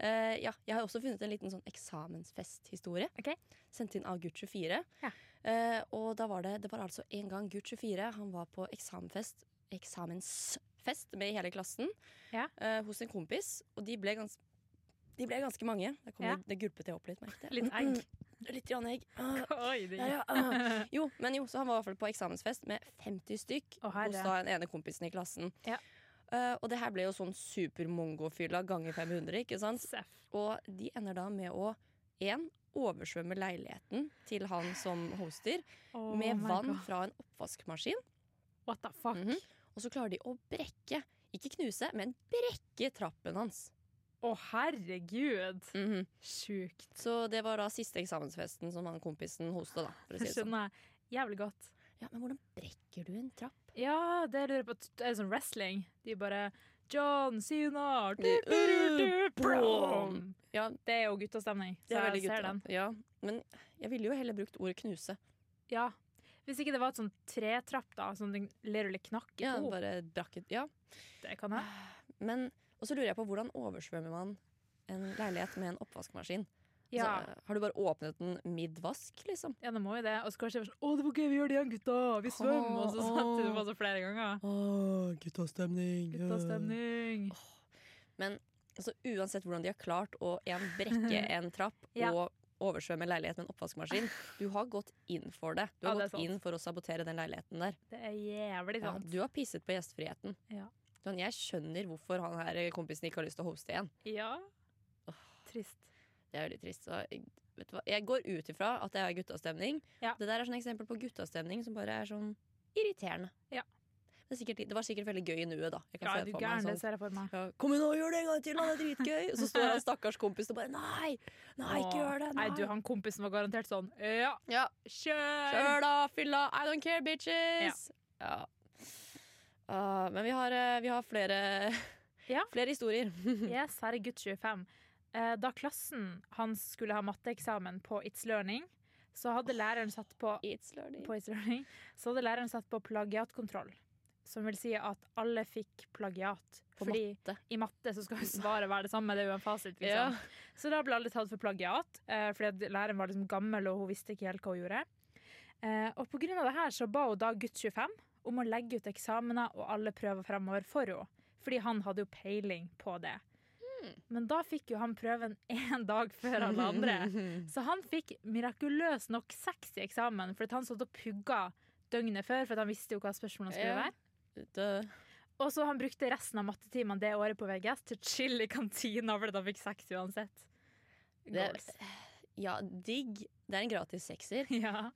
Eh, ja, jeg har også funnet en liten sånn eksamensfesthistorie. Ok. Sendt inn av Gutt 24. Ja. Eh, og da var det, det var altså en gang Gutt 24 han var på eksamenfest, eksamensfest med hele klassen Ja. eh, hos en kompis. Og de ble, gans, de ble ganske mange. Der kom Ja. det, det gulpet jeg opp litt. merket jeg. Litt egg. Litt grann egg. Ah, Oi, det ja, ja, ah. Jo, men jo, så han var i hvert fall på eksamensfest med 50 stykk Å, herre. hos da den ene kompisen i klassen. Ja. Eh, og det her ble jo sånn supermongofylla ganger 500, ikke sant? Seff. Og de ender da med å en, oversvømme leiligheten til han som hoster Oh med my vann God. fra en oppvaskmaskin. What the fuck? Mhm. Og så klarer de å brekke, ikke knuse, men brekke trappen hans. Å, herregud! Mhm. Sjukt. Så det var da siste eksamensfesten som han kompisen hosta, da. For å si Det det sånn. skjønner jeg jævlig godt. Ja, men hvordan brekker du en trapp? Ja, det lurer jeg på. Er det sånn wrestling? De bare John Sina! Du, De- du, du, du, øh, Brom! brom! Ja, Det er jo guttastemning, så det er jeg veldig ser gutta. den. Ja, men jeg ville jo heller brukt ordet knuse. Ja. Hvis ikke det var et sånn tretrapp, da, som den literally knakk i Ja, to. bare brakk et Ja. Det kan jeg. Men, og så lurer jeg på hvordan oversvømmer man en leilighet med en oppvaskmaskin? Ja, Altså, har du bare åpnet den midvask, liksom? ja det må jo det. Og så kanskje det var sånn Å, det var gøy, vi gjør det igjen, gutta! Vi svømmer! Og så Åh, satte du åh. på så flere ganger. Åh, guttastemning! Guttastemning. Altså, uansett hvordan de har klart å en, brekke en trapp Ja. og oversvømme en leilighet med en oppvaskmaskin Du har gått inn for det. Du har Ja, det er gått inn sant. for å sabotere den leiligheten der. Det er jævlig Ja, sant. du har pisset på gjestfriheten. Ja. Sånn, jeg skjønner hvorfor han her kompisen ikke har lyst til å hoste igjen. Ja. Trist. Det er veldig trist. Så, jeg- vet du hva? Jeg går ut ifra at det er guttastemning. Ja. Det der er sånn eksempel på guttastemning som bare er sånn irriterende. Ja. Det, er sikkert, det var sikkert veldig gøy i nuet, da. Jeg kan Ja, se du det for meg, gæren, det sånn, ser jeg for meg. ja, Kom igjen, nå, gjør det en gang til! Han er dritgøy! Og så står han stakkars kompis og bare Nei! Nei, ikke gjør det! Nei, Nei, du, han kompisen var garantert sånn Ja, Ja. kjør! Kjør da, fylla! I don't care, bitches! Ja. Ah, men vi har, eh, vi har flere, Ja. flere historier. Yes, her er gutt 25. Eh, Da klassen hans skulle ha matteeksamen på It's Learning, så hadde læreren satt på, It's learning. på It's Learning, så hadde læreren satt på plagiatkontroll. Som vil si at alle fikk plagiat. På Fordi matte. i matte så skal jo svaret være det samme, det er jo en fasit. Ja. Liksom. Så da ble alle tatt for plagiat, eh, fordi at læreren var liksom gammel og hun visste ikke helt hva hun gjorde. Eh, og på grunn av det her så ba hun da gutt 25 om å legge ut eksamener og alle prøver fremover for henne. Fordi han hadde jo peiling på det. Hmm. Men da fikk jo han prøven én dag før alle andre. Så han fikk mirakuløst nok seks i eksamen, fordi at han satt og pugga døgnet før, for at han visste jo hva spørsmålene skulle Ja. være. Dø. Og så han brukte resten av mattetimene det året på VGS til å chille i kantina fordi han fikk seks uansett. Det- eh, Goals. Ja, digg. Det er en gratis sekser. Ja.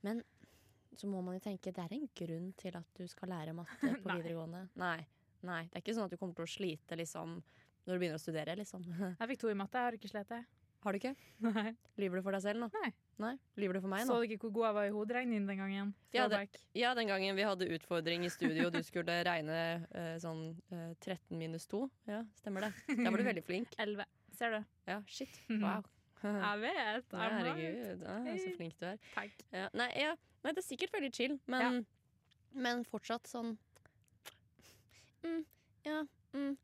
Så må man jo tenke det er en grunn til at du skal lære matte på Nei. videregående. Nei. Nei. Det er ikke sånn at du kommer til å slite liksom, når du begynner å studere. Liksom. Jeg fikk to i matte, jeg har ikke slitt det. Har du ikke? Nei. Lyver du for deg selv nå? Nei. Nei? Lyver du for meg Så nå? du ikke hvor god jeg var i hoderegning den gangen? Ja, det- Throwback. Ja, den gangen vi hadde utfordring i studio, du skulle regne eh, sånn eh, 13 minus 2. Ja, stemmer det. Da var du veldig flink. 11. Ser du? Ja, shit. Wow. Jeg vet. Ja, I'm right. Herregud, ja, så flink du er. Takk. Ja, nei, ja, nei, det er sikkert veldig chill, men, men fortsatt sånn mm, Ja, mm.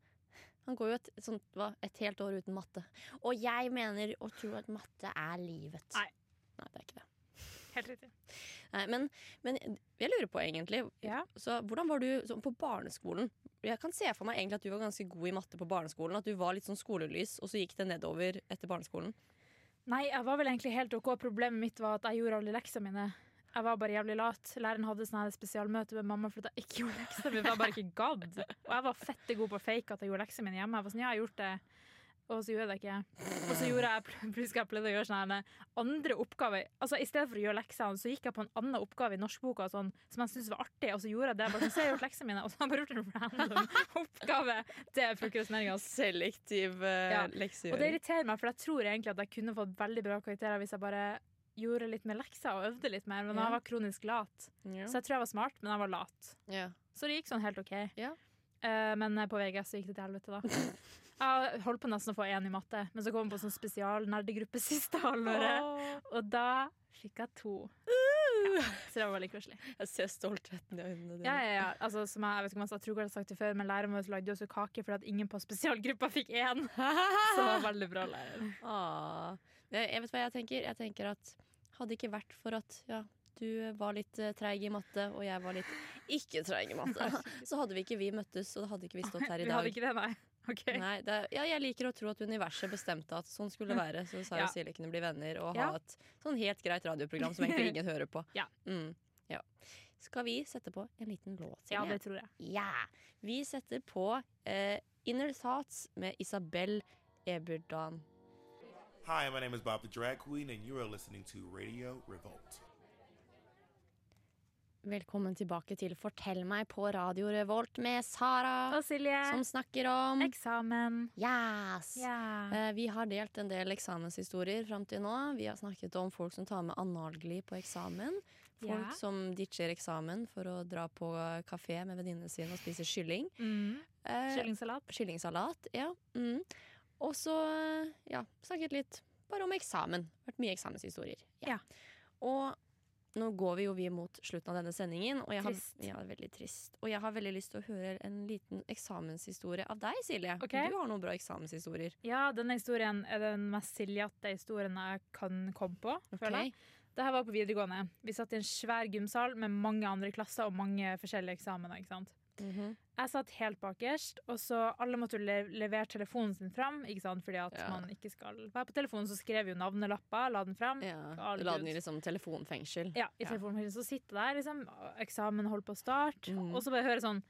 Han går jo et, sånt, hva, et helt år uten matte. Og jeg mener å tro at matte er livet. Nei. Nei, det er ikke det. Helt riktig. Nei, men, men jeg lurer på, egentlig Ja. så, Hvordan var du sånn på barneskolen? Jeg kan se for meg egentlig at du var ganske god i matte på barneskolen. At du var litt sånn skolelys, og så gikk det nedover etter barneskolen. Nei, jeg var vel egentlig helt OK. Problemet mitt var at jeg gjorde alle leksene mine. Jeg var bare jævlig lat. Læreren hadde sånn her spesialmøte med mamma fordi jeg ikke gjorde leksene mine. for Jeg bare ikke gadd. Og jeg var fette god på å fake at jeg gjorde leksene mine hjemme. Jeg var sånn, ja, jeg har gjort det. Og så gjorde jeg det ikke. Og så gjorde jeg pl- plutselig jeg pleide å gjøre sånne her andre oppgaver. Altså I stedet for å gjøre leksene, så gikk jeg på en annen oppgave i norskboka og sånn, som jeg syntes var artig, og så gjorde jeg det. Jeg Bare, sånn, så jeg har gjort leksene mine, og så har jeg bare gjort en random oppgave. Det er prokrastinering, altså. Selektiv eh, Ja, Og det leksegjøring. irriterer meg, for jeg tror egentlig at jeg kunne fått veldig bra karakterer hvis jeg bare gjorde litt mer lekser og øvde litt mer, men Ja. jeg var kronisk lat. Ja. Så jeg tror jeg var smart, men jeg var lat. Ja. Så det gikk sånn helt OK. Ja. Eh, men på VGS så gikk det til helvete, da. Jeg holdt på nesten å få én i matte, men så kom jeg på sånn spesialnerdegruppe siste halvåret, og da fikk jeg to. Uh. Ja, så det var veldig koselig. Jeg ser stoltheten i øynene dine. Ja, ja, ja. Altså, som jeg, jeg vet ikke om jeg, sa- jeg tror ikke jeg har sagt det før, men læreren vår lagde jo også kake fordi at ingen på spesialgruppa fikk én. Så det var veldig bra lærer. Ah. Jeg, jeg vet hva jeg tenker. Jeg tenker at hadde ikke vært for at ja, du var litt eh, treig i matte, og jeg var litt ikke treig i matte, så hadde vi ikke vi møttes, og da hadde ikke vi stått her i Vi hadde dag. ikke det, nei. Ok. Nei, det, er- ja, jeg liker å tro at universet bestemte at sånn skulle det være. Så Sara Mm. Ja. og Silje kunne bli venner og Ja. ha et sånn helt greit radioprogram som egentlig ingen hører på. Ja. Mm, ja. Skal vi sette på en liten låt? Ja, Silje? det tror jeg. Ja! Vi setter på eh, Inner Thoughts med Isabel Eburdan. Hi, my name is Bob the Drag Queen, and you are listening to Radio Revolt. Velkommen tilbake til Fortell meg på Radio Revolt med Sara, Og Silje, som snakker om eksamen. Yes! Ja. Eh, Vi har delt en del eksamenshistorier fram til nå. Vi har snakket om folk som tar med analgli på eksamen. Ja. Folk som ditcher eksamen for å dra på kafé med venninnene sine og spise kylling. Mm. Eh, Kyllingsalat. Kyllingsalat, ja. Mm. Og så eh, ja, snakket litt bare om eksamen. Vært mye eksamenshistorier. Ja. Og nå går vi jo vi mot slutten av denne sendingen, og jeg har, Trist. ja, veldig trist. Og jeg har veldig lyst til å høre en liten eksamenshistorie av deg, Silje. Ok. Du har noen bra eksamenshistorier. Ja, denne historien er den mest siljete historien jeg kan komme på. føler jeg. Ok. Det her var på videregående. Vi satt i en svær gymsal med mange andre klasser og mange forskjellige eksamener. ikke sant? Mhm. Jeg satt helt bakerst, og så alle måtte jo le levere telefonen sin fram. ikke sant? Fordi at Ja. man ikke skal være på telefonen, så skrev vi jo navnelapper, la den fram. ja. Gal Du la den dude. i liksom telefonfengsel. Ja, i telefonen min. Så sitter jeg der, liksom, eksamen holder på å starte, Mhm. og så bare hører jeg sånn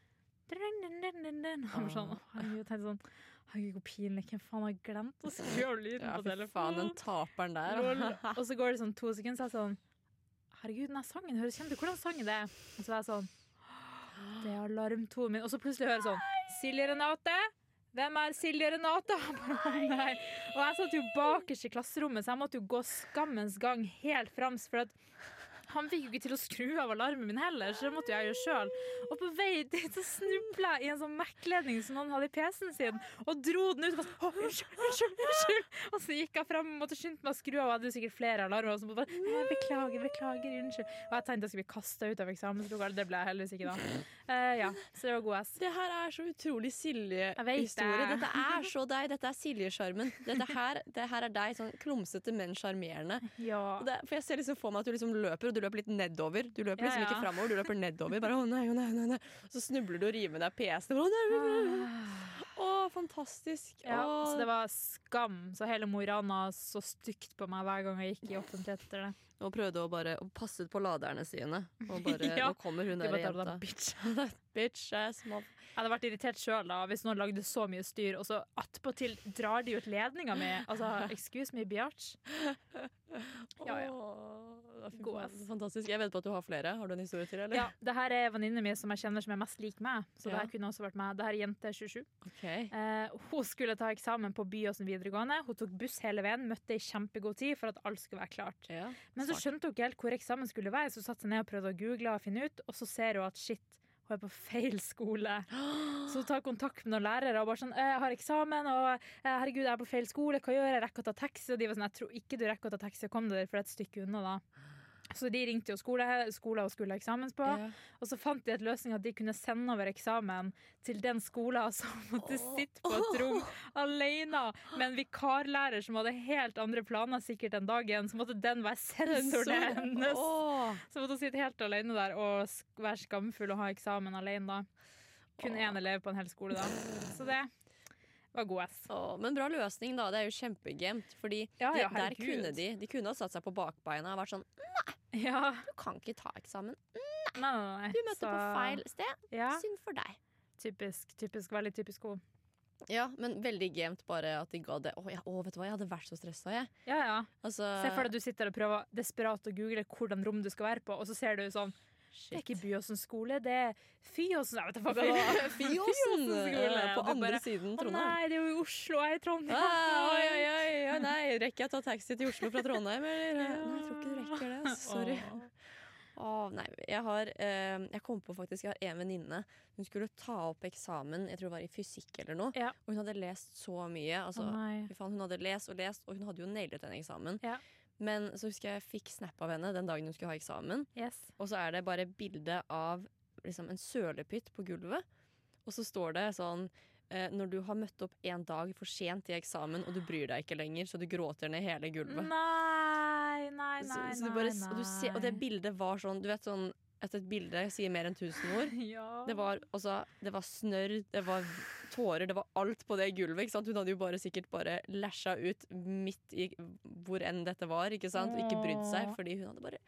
dun, dun, dun, dun, dun. Og jeg bare sånn, Ah. å, herregud, tenkte sånn Herregud, hvor pinlig. Hvem faen har glemt å skru av lyden Ja, på fy faen, den telefonen? taperen der. altså. Lol. Og så går det sånn to sekunder, så er jeg sånn Herregud, den her sangen høres kjent ut. Hvordan sang det? er?» Og så er jeg sånn Det er alarmtonen min. Og så plutselig hører jeg sånn Silje Renate? Hvem er Silje Renate? Og jeg bare, «Å, Nei. Og jeg satt jo bakerst i klasserommet, så jeg måtte jo gå skammens gang helt frams. For at han fikk jo ikke til å skru av alarmen min heller, så det måtte jeg gjøre sjøl. Og på vei dit så snubla jeg i en sånn Mac-ledning som noen hadde i PC-en sin, og dro den ut. Og, bare, «Å, unnskyld, unnskyld, unnskyld. og så gikk jeg fram og måtte skynde meg å skru av, og jeg hadde jo sikkert flere alarmer. Og så måtte jeg bare, «Nei, beklager, beklager, unnskyld. Og jeg tenkte jeg skulle bli kasta ut av eksamenslokalet, det ble jeg heldigvis ikke da. Eh, ja, så det var god ass. Det her er så utrolig Jeg vet Silje-historie. det. Dette er så deg. Dette er Silje-sjarmen. Dette her, det her er deg, sånn klumsete, men sjarmerende. Ja. Og det- For jeg ser liksom for meg at du liksom løper, og du løper litt nedover. Du løper Ja, liksom ja. ikke framover, du løper nedover. Bare å nei, å nei, nei, nei. Så snubler du og river med deg PC-en. Å, nei, nei, nei. Å, fantastisk. Ah. Ja, Å, så det var skam. Så hele Mo i Rana så stygt på meg hver gang jeg gikk i offentlighet etter det. Og prøvde å bare å passe på laderne sine. Og bare Ja. Nå kommer hun Jeg der bare tar det da, jenta. bitch. Bitch ass mom. Jeg hadde vært irritert sjøl hvis noen lagde så mye styr, og så attpåtil drar de ut ledninga mi. Altså, excuse me, biatch. Ja, ja. Åh, fy God faen, ass. Fantastisk. Jeg vet på at du har flere. Har du en historie til, eller? Ja, det her er venninna mi som jeg kjenner som er mest lik meg. Så det Ja. her kunne også vært meg. Det her er jente 27. Ok. Eh, hun skulle ta eksamen på Byåsen videregående. Hun tok buss hele veien, møtte i kjempegod tid for at alt skulle være klart. Ja, Men så smart. skjønte hun ikke helt hvor eksamen skulle være, så hun satte seg ned og prøvde å google og finne ut, og så ser hun at shit, hun er på feil skole. Så hun tar kontakt med noen lærere og bare sånn, «Eh, jeg har eksamen, og eh, herregud, jeg er på feil skole, hva gjør jeg, rekker å ta taxi? Og de var sånn, jeg tror ikke du rekker å ta taxi, kom deg der, for det er et stykke unna da. Så de ringte jo skole, skole og skulle ha eksamens på, Ja. og så fant de et løsning at de kunne sende over eksamen til den skolen som måtte sitte på et rom alene med en vikarlærer som hadde helt andre planer sikkert den dagen, så måtte den være sensoren hennes. Åh. Så måtte hun sitte helt alene der og sk- være skamfull og ha eksamen alene da. Kun én elev på en hel skole da. Så det var god ass. Åh, men bra løsning, da. Det er jo kjempegemt. Fordi Ja, ja, de, der herregud. kunne de De kunne ha satt seg på bakbeina og vært sånn Ja, Du kan ikke ta eksamen. nei, nei, nei. Du møtte Så- på feil sted. Altså, Ja, Synd for deg. typisk, typisk, veldig typisk god. Ja, men veldig gemt bare at de ga det. Åh, ja, åh, vet du hva, jeg hadde vært så stressa, jeg. Ja, ja. Altså, Se for deg du sitter og prøver desperat å google hvordan rom du skal være på, og så ser du sånn, det er shit. ikke Byåsen skole, det er Fyåsen. Jeg vet ikke hva Det var Fyåsen- Fjosen skole, eh, på og du andre bare, siden Å Trondheim. nei, det er jo i Oslo, jeg er i Oi, Trondheim. oi, oi, oi, nei, rekker jeg å ta taxi til Oslo fra Trondheim, eller? Nei, jeg tror ikke du rekker det. ass. Sorry. Åh, nei, jeg har eh, Jeg kom på faktisk Jeg har en venninne. Hun skulle ta opp eksamen Jeg tror det var i fysikk eller noe. Ja. Og hun hadde lest så mye. Å Altså, nei. fy faen, hun hadde lest og lest, og hun hadde jo nailet den eksamen. Ja. Men så husker jeg jeg fikk snap av henne den dagen hun skulle ha eksamen. Yes. Og så er det bare bilde av liksom, en sølepytt på gulvet. Og så står det sånn eh, Når du har møtt opp en dag for sent i eksamen, og du bryr deg ikke lenger, så du gråter ned hele gulvet. Nei, nei, Så, nei, så du bare, nei, og, du ser, og det bildet var sånn Du vet sånn at et bilde sier mer enn tusen ord. Ja. Det var, altså, det var snørr, det var tårer, det var alt på det gulvet. Ikke sant? Hun hadde jo bare sikkert bare læsja ut midt i hvor enn dette var. Ikke sant? Og ikke brydd seg, Åh. fordi hun hadde bare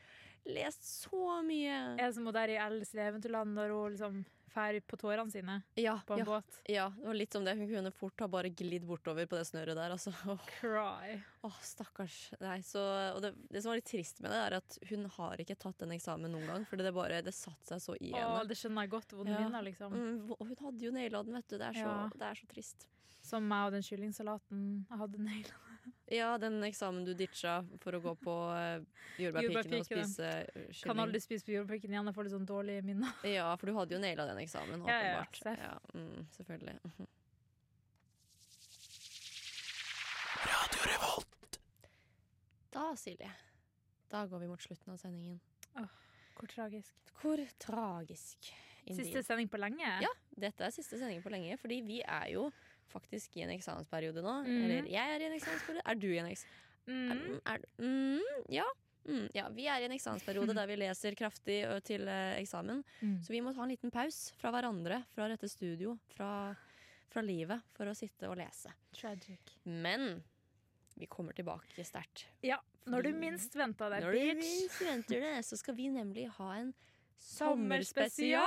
lest så mye. Er det som hun der i Alice i Eventyrland, når hun liksom fer på tårene sine Ja, på ja, en båt? ja, det var litt som det. Hun kunne fort ha bare glidd bortover på det snørret der. Altså. Åh, Cry. åh, stakkars. Nei, så, og det, det som var litt trist med det, er at hun har ikke tatt den eksamen noen gang. Fordi det bare, det satt seg så i Å, henne. det skjønner jeg godt. Vonde Ja. minner, liksom. Mm, og hun hadde jo naila den, vet du. Det er så, Ja. det er så trist. Som meg og den kyllingsalaten jeg hadde naila. Ja, den eksamen du ditcha for å gå på eh, Jordbærpikene og Jordbærpikene. spise eh, kylling. Kan aldri spise på jordbruken igjen, jeg får litt sånn dårlige minner. Ja, for du hadde jo naila den eksamen, Ja, ja, åpenbart. seff. Ja, mm, selvfølgelig. Mhm. Da, Silje, da går vi mot slutten av sendingen. Hvor tragisk. Hvor tragisk. indeed. Siste sending på lenge? Ja, dette er siste sending på lenge, fordi vi er jo faktisk i en eksamensperiode nå. Mhm. Eller jeg er i en eksamensperiode. Er du i en eksamen? Mm. Er, du- mm, ja. Mm, ja. Vi er i en eksamensperiode der vi leser kraftig ø, til eh, eksamen. Mm. Så vi må ta en liten paus fra hverandre, fra dette studio, fra, fra livet, for å sitte og lese. Tragic. Men vi kommer tilbake sterkt. Ja, når du Fordi- minst venter det, Når du bitch. minst venter det, så skal vi nemlig ha en sommerspesial!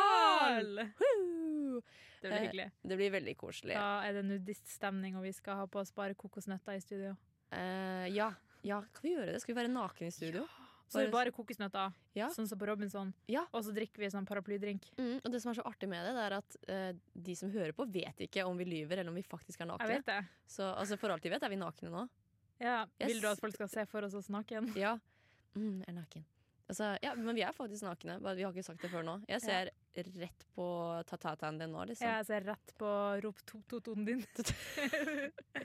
Sommerspesial! Woo! Det blir hyggelig. Eh, Det blir veldig koselig. Da er det nudiststemning, og vi skal ha på oss bare kokosnøtter i studio. Eh, ja. ja, kan vi gjøre det? Skal vi være naken i studio? Så det er Bare- bare kokosnøtter, Ja. sånn som på Robinson. Ja. Og så drikker vi sånn paraplydrink. Mm, og det som er så artig med det, det er at eh, de som hører på, vet ikke om vi lyver eller om vi faktisk er Jeg nakne. vet det. Så altså, for alt de vet, er vi nakne nå. Ja. Yes. Vil du at folk skal se for oss oss naken? Ja, mm, er naken. Altså, ja, men vi er faktisk nakne. Bare, vi har ikke sagt det før nå. Jeg ser rett på tatataen din nå, liksom. Jeg ser rett på rop tototoen din.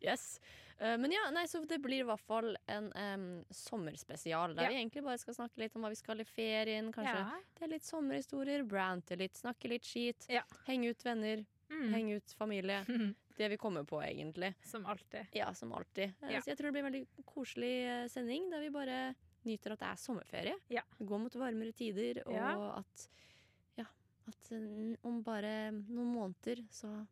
Yes. Eh, men ja, nei, så det blir i hvert fall en em, sommerspesial. Der Ja. vi egentlig bare skal snakke litt om hva vi skal i ferien. Kanskje Ja. det er litt sommerhistorier, brante litt, snakke litt skit. Ja. Henge ut venner, Mm. henge ut familie. Det vi kommer på, egentlig. Som alltid. Ja, som alltid. Eh, Ja. Så jeg tror det blir en veldig koselig eh, sending, der vi bare nyter at det er sommerferie. Ja. Vi går mot varmere tider, og Ja. at ja, at eh, om bare noen måneder så,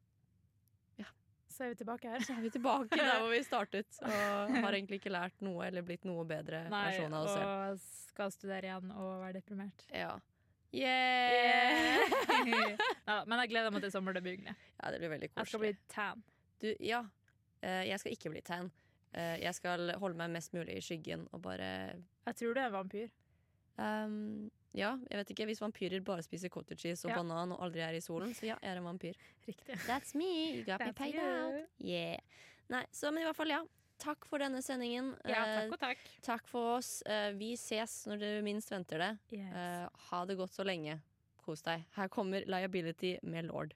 Så er vi tilbake her. så er vi tilbake der hvor vi startet. Og har egentlig ikke lært noe eller blitt noe bedre versjon av oss selv. og skal studere igjen og være deprimert. Ja. Yeah. Yeah! Neida, men jeg gleder meg til sommer. Det blir hyggelig. ja, det blir veldig Jeg koselig. skal bli tan. Du, ja. Eh, jeg skal ikke bli tan. Eh, jeg skal holde meg mest mulig i skyggen og bare Jeg tror du er en vampyr. Ehm, ja, jeg vet ikke. Hvis vampyrer bare spiser cottage cheese og Ja. banan og aldri er i solen, så ja, jeg er en vampyr. Riktig. That's me, you got me me That's paid paid you. out. out. Yeah. Nei, så men i hvert fall, ja. Takk for denne sendingen. Ja, Eh, takk og takk. takk for oss. Eh, vi ses når du minst venter det. Yes. Eh, ha det godt så lenge. Kos deg. Her kommer Liability med Lord.